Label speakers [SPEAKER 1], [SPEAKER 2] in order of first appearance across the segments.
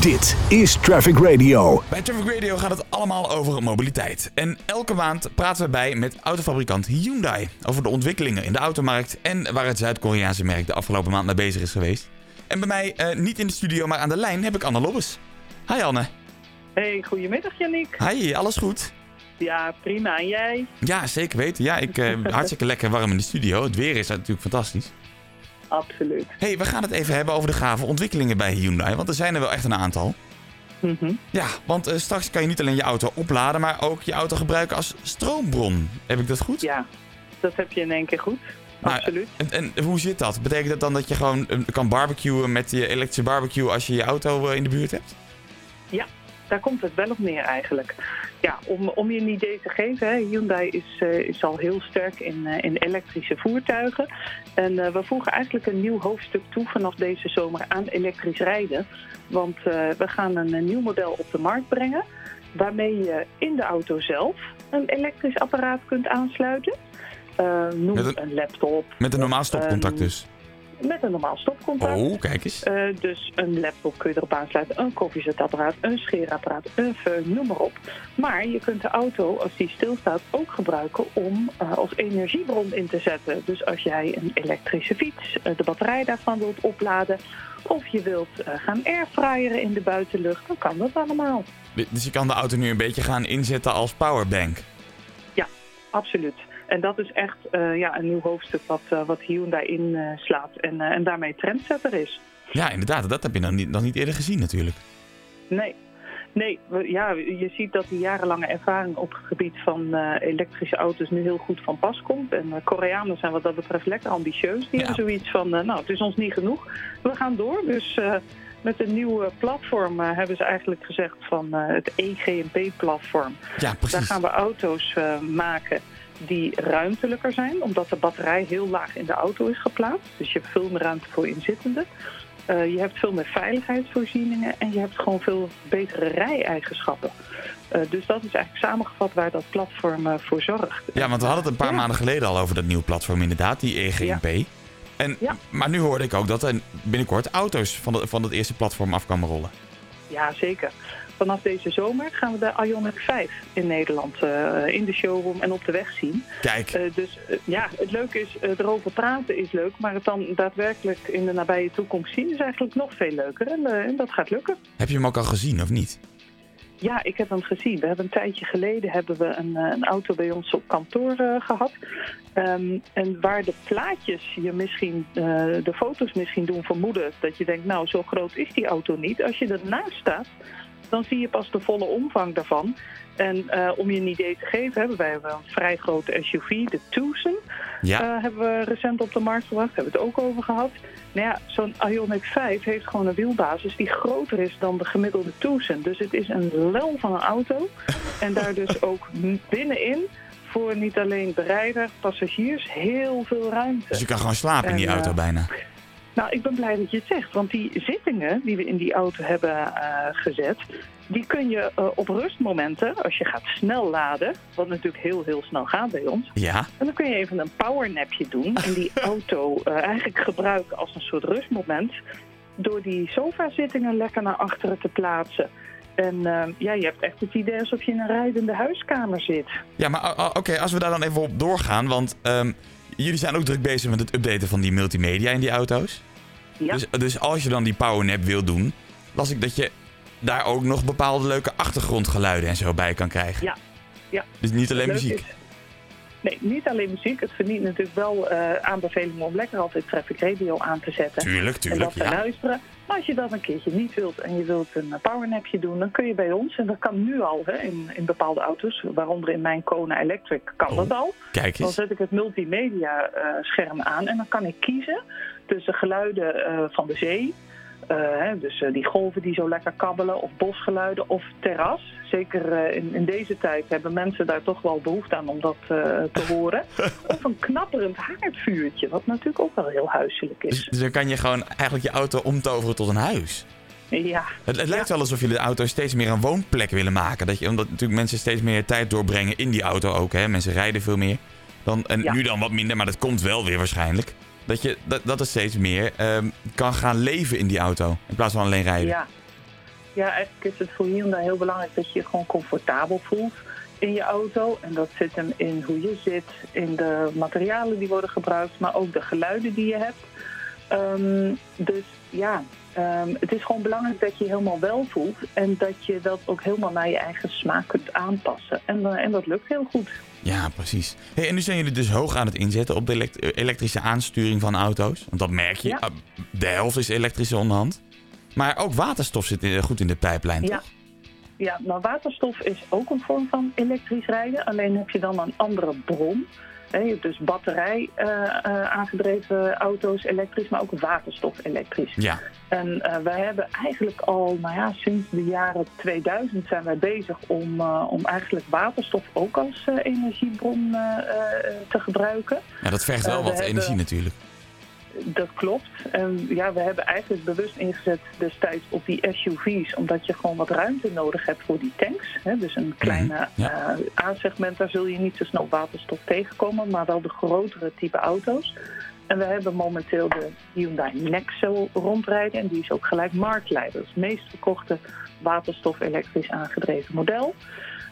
[SPEAKER 1] Dit is Traffic Radio.
[SPEAKER 2] Bij Traffic Radio gaat het allemaal over mobiliteit. En elke maand praten we bij met autofabrikant Hyundai over de ontwikkelingen in de automarkt en waar het Zuid-Koreaanse merk de afgelopen maand mee bezig is geweest. En bij mij, eh, niet in de studio, maar aan de lijn, heb ik Anne Lobbes. Hi Anne.
[SPEAKER 3] Hey, goedemiddag Yannick.
[SPEAKER 2] Hi, alles goed?
[SPEAKER 3] Ja, prima. En jij?
[SPEAKER 2] Ja, zeker weten. Ja, ik eh, hartstikke lekker warm in de studio. Het weer is natuurlijk fantastisch.
[SPEAKER 3] Absoluut.
[SPEAKER 2] hey, we gaan het even hebben over de gave ontwikkelingen bij Hyundai, want er zijn er wel echt een aantal.
[SPEAKER 3] Mhm.
[SPEAKER 2] Ja, want eh, straks kan je niet alleen je auto opladen, maar ook je auto gebruiken als stroombron. Heb ik dat goed?
[SPEAKER 3] Ja, dat heb je in één keer goed.
[SPEAKER 2] Maar-
[SPEAKER 3] Absoluut.
[SPEAKER 2] En, en hoe zit dat? Betekent dat dan dat je gewoon eh, kan barbecuen met je elektrische barbecue als je je auto eh, in de buurt hebt?
[SPEAKER 3] Daar komt het wel op neer eigenlijk. Ja, om, om je een idee te geven, hè, Hyundai is, eh, is al heel sterk in, eh, in elektrische voertuigen. En eh, we voegen eigenlijk een nieuw hoofdstuk toe vanaf deze zomer aan elektrisch rijden. Want eh, we gaan een, eh, nieuw model op de markt brengen. Waarmee je in de auto zelf een elektrisch apparaat kunt aansluiten. Eh, noem
[SPEAKER 2] Met een-
[SPEAKER 3] een... laptop.
[SPEAKER 2] Met een normaal
[SPEAKER 3] of
[SPEAKER 2] stopcontact
[SPEAKER 3] een-
[SPEAKER 2] dus.
[SPEAKER 3] Met een normaal stopcontact.
[SPEAKER 2] Oh, kijk eens.
[SPEAKER 3] Ehm, Eh, dus een laptop kun je erop aansluiten, een koffiezetapparaat, een scheerapparaat, een föhn, noem maar op. Maar je kunt de auto, als die stilstaat, ook gebruiken om eh, als energiebron in te zetten. Dus als jij een elektrische fiets, eh, de batterij daarvan wilt opladen... of je wilt eh, gaan airfryeren in de buitenlucht, dan kan dat allemaal.
[SPEAKER 2] Dus je kan de auto nu een beetje gaan inzetten als powerbank.
[SPEAKER 3] Absoluut. En dat is echt eh, ja, een nieuw hoofdstuk wat, eh, wat Hyundai inslaat en, eh, en daarmee trendsetter is.
[SPEAKER 2] Ja, inderdaad. Dat heb je nog niet, nog niet eerder gezien natuurlijk.
[SPEAKER 3] Nee. Nee, we- ja, je ziet dat die jarenlange ervaring op het gebied van eh, elektrische auto's nu heel goed van pas komt. En eh, Koreanen zijn wat dat betreft lekker ambitieus. Die
[SPEAKER 2] Ja.
[SPEAKER 3] hebben zoiets van, eh, nou, het is ons niet genoeg. We gaan door. Dus eh, met een nieuwe platform eh, hebben ze eigenlijk gezegd van eh, het EGMP-platform.
[SPEAKER 2] Ja,
[SPEAKER 3] Daar
[SPEAKER 2] precies.
[SPEAKER 3] gaan we auto's eh, maken die ruimtelijker zijn, omdat de batterij heel laag in de auto is geplaatst. Dus je hebt veel meer ruimte voor inzittenden. Eh, je hebt veel meer veiligheidsvoorzieningen en je hebt gewoon veel betere rij-eigenschappen. Eh, dus dat is eigenlijk samengevat waar dat platform eh, voor zorgt.
[SPEAKER 2] Ja, want we hadden het een paar
[SPEAKER 3] Ja.
[SPEAKER 2] maanden geleden al over dat nieuwe platform inderdaad, die E EGMP. En,
[SPEAKER 3] Ja.
[SPEAKER 2] Maar nu hoorde ik ook dat er binnenkort auto's van, de, van dat eerste platform af komen rollen.
[SPEAKER 3] Eh, Ja, zeker. Vanaf deze zomer gaan we de Ioniq 5 in Nederland eh, in de showroom en op de weg zien.
[SPEAKER 2] Kijk,
[SPEAKER 3] Eh, dus eh, ja, het leuke is, eh, erover praten is leuk, maar het dan daadwerkelijk in de nabije toekomst zien is eigenlijk nog veel leuker. En, eh, en dat gaat lukken.
[SPEAKER 2] heb je hem ook al gezien of niet?
[SPEAKER 3] Ja, ik heb hem gezien. We hebben een tijdje geleden hebben we een, eh, een auto bij ons op kantoor eh, gehad. Ehm, en waar de plaatjes je misschien, eh, de foto's misschien doen vermoeden dat je denkt, nou zo groot is die auto niet. Als je ernaast staat, dan zie je pas de volle omvang daarvan. En eh, om je een idee te geven, hebben wij wel een vrij grote SUV, de Tucson.
[SPEAKER 2] Ja.
[SPEAKER 3] Eh, hebben we recent op de markt gebracht. Hebben we het ook over gehad. Nou ja, zo'n Ioniq 5 heeft gewoon een wielbasis die groter is dan de gemiddelde Tucson. Dus het is een lel van een auto. En daar dus ook binnenin voor niet alleen de rijder, passagiers, heel veel
[SPEAKER 2] Dus
[SPEAKER 3] ruimte.
[SPEAKER 2] je kan gewoon slapen in die
[SPEAKER 3] En, eh,
[SPEAKER 2] auto bijna.
[SPEAKER 3] Nou, ik ben blij dat je het zegt. Want die zittingen die we in die auto hebben eh, gezet... die kun je eh, op rustmomenten, als je gaat snel laden... wat natuurlijk heel, heel snel gaat bij ons...
[SPEAKER 2] Ja.
[SPEAKER 3] En dan kun je even een powernapje doen en die auto eh, eigenlijk gebruiken als een soort rustmoment. Door die sofazittingen lekker naar achteren te plaatsen. En eh, ja, je hebt echt het idee alsof je in een rijdende huiskamer zit.
[SPEAKER 2] Ja, maar o- o- oké, als we daar dan even op doorgaan. Want ehm, jullie zijn ook druk bezig met het updaten van die multimedia in die auto's.
[SPEAKER 3] Ja.
[SPEAKER 2] Dus, dus als je dan die powernap wil doen, las ik dat je daar ook nog bepaalde leuke achtergrondgeluiden en zo bij kan krijgen.
[SPEAKER 3] Ja. Ja.
[SPEAKER 2] Dus niet alleen
[SPEAKER 3] Leuk
[SPEAKER 2] muziek.
[SPEAKER 3] is- Nee, niet alleen muziek. Het verdient natuurlijk wel eh aanbevelingen om lekker altijd Traffic Radio aan te zetten.
[SPEAKER 2] Tuurlijk, tuurlijk.
[SPEAKER 3] en dat te
[SPEAKER 2] Ja.
[SPEAKER 3] luisteren. Maar als je dat een keertje niet wilt en je wilt een eh, powernapje doen, dan kun je bij ons, en dat kan nu al hè, in, in bepaalde auto's, waaronder in mijn Kona Electric, kan
[SPEAKER 2] Oh.
[SPEAKER 3] dat al.
[SPEAKER 2] Kijk
[SPEAKER 3] Dan
[SPEAKER 2] eens.
[SPEAKER 3] zet ik het multimedia eh, scherm aan en dan kan ik kiezen tussen geluiden eh, van de zee, eh, hè, dus eh, die golven die zo lekker kabbelen, of bosgeluiden of terras. Zeker eh, in, in deze tijd hebben mensen daar toch wel behoefte aan om dat eh, te horen. of een knapperend haardvuurtje, wat natuurlijk ook wel heel huiselijk
[SPEAKER 2] Dus,
[SPEAKER 3] is.
[SPEAKER 2] dus dan kan je gewoon eigenlijk je auto omtoveren tot een huis.
[SPEAKER 3] Ja,
[SPEAKER 2] Het, het lijkt wel alsof jullie de auto steeds meer een woonplek willen maken. Dat je, omdat natuurlijk mensen steeds meer tijd doorbrengen in die auto ook. Hè? Mensen rijden veel meer. Dan, en
[SPEAKER 3] Ja.
[SPEAKER 2] nu dan wat minder, maar dat komt wel weer waarschijnlijk. Dat, je, dat, dat er steeds meer ehm, kan gaan leven in die auto. In plaats van alleen rijden.
[SPEAKER 3] ja. ja, eigenlijk is het voor Hyundai heel belangrijk dat je je gewoon comfortabel voelt in je auto. En dat zit hem in hoe je zit, in de materialen die worden gebruikt, maar ook de geluiden die je hebt. Ehm, dus ja, ehm, het is gewoon belangrijk dat je je helemaal wel voelt en dat je dat ook helemaal naar je eigen smaak kunt aanpassen. En, eh, en dat lukt heel goed.
[SPEAKER 2] Ja, precies. Hey, en nu zijn jullie dus hoog aan het inzetten op de elekt- eh, elektrische aansturing van auto's. Want dat merk je.
[SPEAKER 3] Ja.
[SPEAKER 2] Ah, De helft is elektrisch onderhand. Maar ook waterstof zit eh, goed in de pijplijn,
[SPEAKER 3] Ja.
[SPEAKER 2] toch?
[SPEAKER 3] Ja, nou waterstof is ook een vorm van elektrisch rijden. Alleen heb je dan een andere bron. Hè, Je hebt dus batterij eh, eh, aangedreven auto's elektrisch, maar ook waterstof elektrisch.
[SPEAKER 2] Ja.
[SPEAKER 3] En eh, wij hebben eigenlijk al, nou ja, sinds de jaren 2000 zijn wij bezig om, eh, om eigenlijk waterstof ook als eh, energiebron eh, eh, te gebruiken.
[SPEAKER 2] ja, dat vergt wel
[SPEAKER 3] Eh, we
[SPEAKER 2] wat
[SPEAKER 3] hebben-
[SPEAKER 2] energie natuurlijk.
[SPEAKER 3] Dat klopt. En ja, we hebben eigenlijk bewust ingezet destijds op die SUV's, omdat je gewoon wat ruimte nodig hebt voor die tanks. Hè? Dus een kleine
[SPEAKER 2] ja.
[SPEAKER 3] eh, A-segment, daar zul je niet zo snel waterstof tegenkomen, maar wel de grotere type auto's. En we hebben momenteel de Hyundai Nexo rondrijden en die is ook gelijk marktleider. Het meest verkochte waterstof-elektrisch aangedreven model.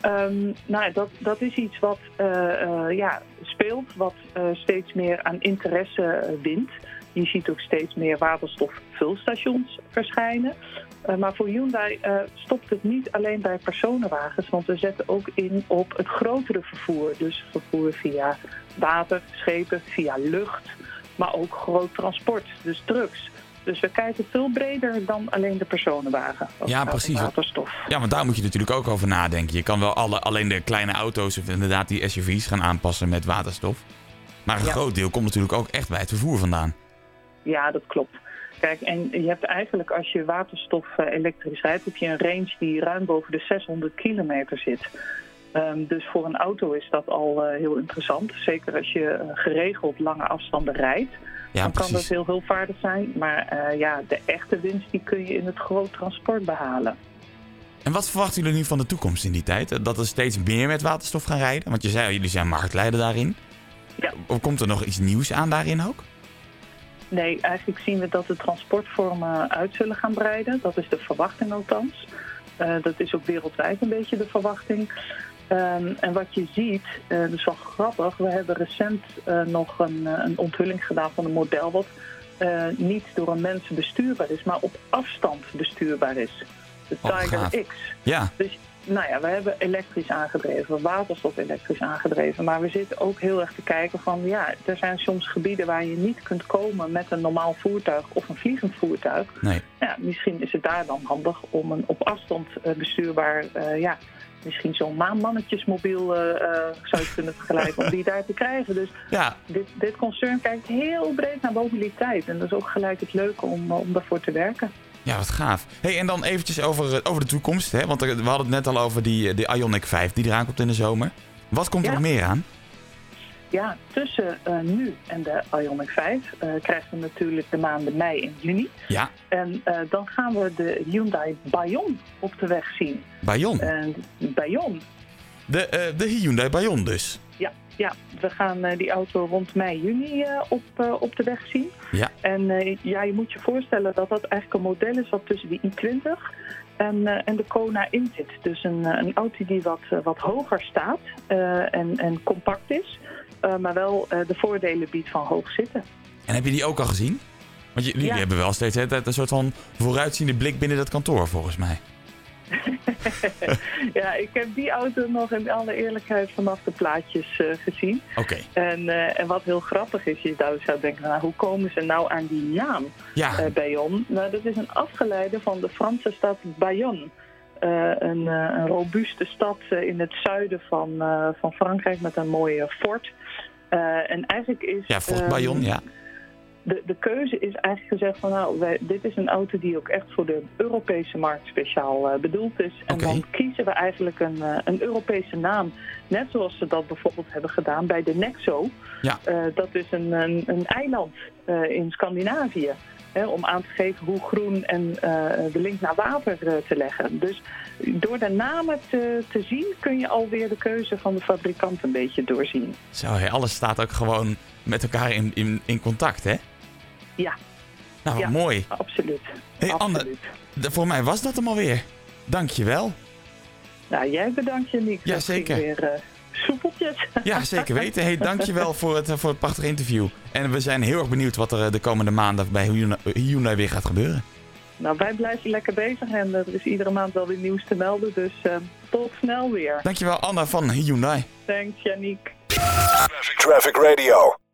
[SPEAKER 3] Ehm, nou, ja, dat, dat is iets wat eh, eh, ja, speelt, wat eh, steeds meer aan interesse eh, wint. Je ziet ook steeds meer waterstofvulstations verschijnen. Eh, maar voor Hyundai eh, stopt het niet alleen bij personenwagens, want we zetten ook in op het grotere vervoer. Dus vervoer via water, schepen, via lucht, maar ook groot transport, dus trucks. Dus we kijken veel breder dan alleen de personenwagen. als
[SPEAKER 2] Ja,
[SPEAKER 3] het gaat om
[SPEAKER 2] precies.
[SPEAKER 3] Waterstof.
[SPEAKER 2] Ja, want daar moet je natuurlijk ook over nadenken. Je kan wel alle, alleen de kleine auto's of inderdaad die SUV's gaan aanpassen met waterstof. Maar een
[SPEAKER 3] Ja.
[SPEAKER 2] groot deel komt natuurlijk ook echt bij het vervoer vandaan.
[SPEAKER 3] Ja, dat klopt. Kijk, en je hebt eigenlijk als je waterstof eh, elektrisch rijdt, heb je een range die ruim boven de 600 kilometer zit. Ehm, dus voor een auto is dat al eh, heel interessant. Zeker als je eh, geregeld lange afstanden rijdt.
[SPEAKER 2] Ja,
[SPEAKER 3] dan kan dat
[SPEAKER 2] precies.
[SPEAKER 3] heel hulpvaardig zijn. Maar eh, ja, de echte winst die kun je in het groot transport behalen.
[SPEAKER 2] En wat verwachten jullie nu van de toekomst in die tijd? Eh, Dat er steeds meer met waterstof gaan rijden? Want je zei, al, jullie zijn marktleider daarin.
[SPEAKER 3] Ja.
[SPEAKER 2] Komt er nog iets nieuws aan daarin ook?
[SPEAKER 3] Nee, eigenlijk zien we dat de transportvormen uit zullen gaan breiden. Dat is de verwachting althans. Eh, dat is ook wereldwijd een beetje de verwachting. Ehm, en wat je ziet, eh, dat is wel grappig. We hebben recent eh, nog een, eh, een onthulling gedaan van een model wat eh, niet door een mens bestuurbaar is, maar op afstand bestuurbaar is. De
[SPEAKER 2] Oh,
[SPEAKER 3] Tiger
[SPEAKER 2] gaaf.
[SPEAKER 3] X.
[SPEAKER 2] Ja,
[SPEAKER 3] Dus nou ja, we hebben elektrisch aangedreven, waterstof elektrisch aangedreven. Maar we zitten ook heel erg te kijken van ja, er zijn soms gebieden waar je niet kunt komen met een normaal voertuig of een vliegend voertuig.
[SPEAKER 2] nee.
[SPEAKER 3] Ja, misschien is het daar dan handig om een op afstand eh, bestuurbaar, eh, ja, misschien zo'n maanmannetjesmobiel eh, eh, zou je kunnen vergelijken om die daar te krijgen. Dus
[SPEAKER 2] Ja,
[SPEAKER 3] dit, dit concern kijkt heel breed naar mobiliteit. En dat is ook gelijk het leuke om, eh, om daarvoor te werken.
[SPEAKER 2] ja wat gaaf. Hey, en dan eventjes over, eh, over de toekomst. Hè? Want er- we hadden het net al over die, eh, die Ionic 5 die eraan komt in de zomer. Wat komt er
[SPEAKER 3] Ja.
[SPEAKER 2] nog meer aan?
[SPEAKER 3] Ja, tussen eh, nu en de Ionic 5 eh, krijgen we natuurlijk de maanden mei en juni.
[SPEAKER 2] Ja,
[SPEAKER 3] En eh, dan gaan we de Hyundai Bayon op de weg zien.
[SPEAKER 2] Bayon.
[SPEAKER 3] En Bayon,
[SPEAKER 2] De, eh, de Hyundai Bayon dus.
[SPEAKER 3] ja, ja we gaan eh, die auto rond mei, juni eh, op, eh, op de weg zien.
[SPEAKER 2] Ja.
[SPEAKER 3] En eh, ja, je moet je voorstellen dat dat eigenlijk een model is wat tussen de i20 en, eh, en de Kona in zit. Dus een, eh, een auto die wat, eh, wat hoger staat eh, en, en compact is. eh, maar wel eh, de voordelen biedt van hoog zitten.
[SPEAKER 2] En heb je die ook al gezien? Want j- jullie
[SPEAKER 3] Ja.
[SPEAKER 2] hebben wel steeds de hele tijd een soort van vooruitziende blik binnen dat kantoor volgens mij.
[SPEAKER 3] Ja, ik heb die auto nog in alle eerlijkheid vanaf de plaatjes eh, gezien.
[SPEAKER 2] Oké,
[SPEAKER 3] En, eh, en wat heel grappig is, je zou, zou denken, nou, hoe komen ze nou aan die naam
[SPEAKER 2] ja.
[SPEAKER 3] eh Bayonne? Nou, dat is een afgeleide van de Franse stad Bayonne. Eh, een, eh, een robuuste stad eh, in het zuiden van, eh, van Frankrijk met een mooie fort. Eh, en eigenlijk is...
[SPEAKER 2] ja, Fort
[SPEAKER 3] ehm,
[SPEAKER 2] Bayon, ja.
[SPEAKER 3] de, de keuze is eigenlijk gezegd van nou, wij, dit is een auto die ook echt voor de Europese markt speciaal eh, bedoeld is. En
[SPEAKER 2] Oké.
[SPEAKER 3] dan kiezen we eigenlijk een, eh, een Europese naam. Net zoals ze dat bijvoorbeeld hebben gedaan bij de Nexo.
[SPEAKER 2] Ja.
[SPEAKER 3] Eh, dat is een, een, een eiland eh, in Scandinavië. Hè, om aan te geven hoe groen en eh, de link naar water eh, te leggen. Dus door de namen te, te zien kun je alweer de keuze van de fabrikant een beetje doorzien.
[SPEAKER 2] Zo, hé, alles staat ook gewoon met elkaar in, in, in contact, hè?
[SPEAKER 3] Ja.
[SPEAKER 2] Nou,
[SPEAKER 3] Ja.
[SPEAKER 2] mooi.
[SPEAKER 3] Absoluut.
[SPEAKER 2] Hey, Anne.
[SPEAKER 3] Absoluut.
[SPEAKER 2] De- voor mij was dat hem alweer. Dankjewel.
[SPEAKER 3] Nou, jij bedankt je, Nick.
[SPEAKER 2] Ja,
[SPEAKER 3] Dat ging
[SPEAKER 2] zeker.
[SPEAKER 3] Weer eh, soepeltjes.
[SPEAKER 2] Ja, zeker weten. Hey, dankjewel voor het, eh, voor het prachtige interview. En we zijn heel erg benieuwd wat er eh, de komende maanden bij Hyundai- Hyundai weer gaat gebeuren.
[SPEAKER 3] nou, wij blijven lekker bezig en eh, er is iedere maand wel weer nieuws te melden. Dus eh, tot snel weer.
[SPEAKER 2] Dankjewel, Anna van Hyundai.
[SPEAKER 3] Thanks, Yannick.
[SPEAKER 1] Traffic Radio.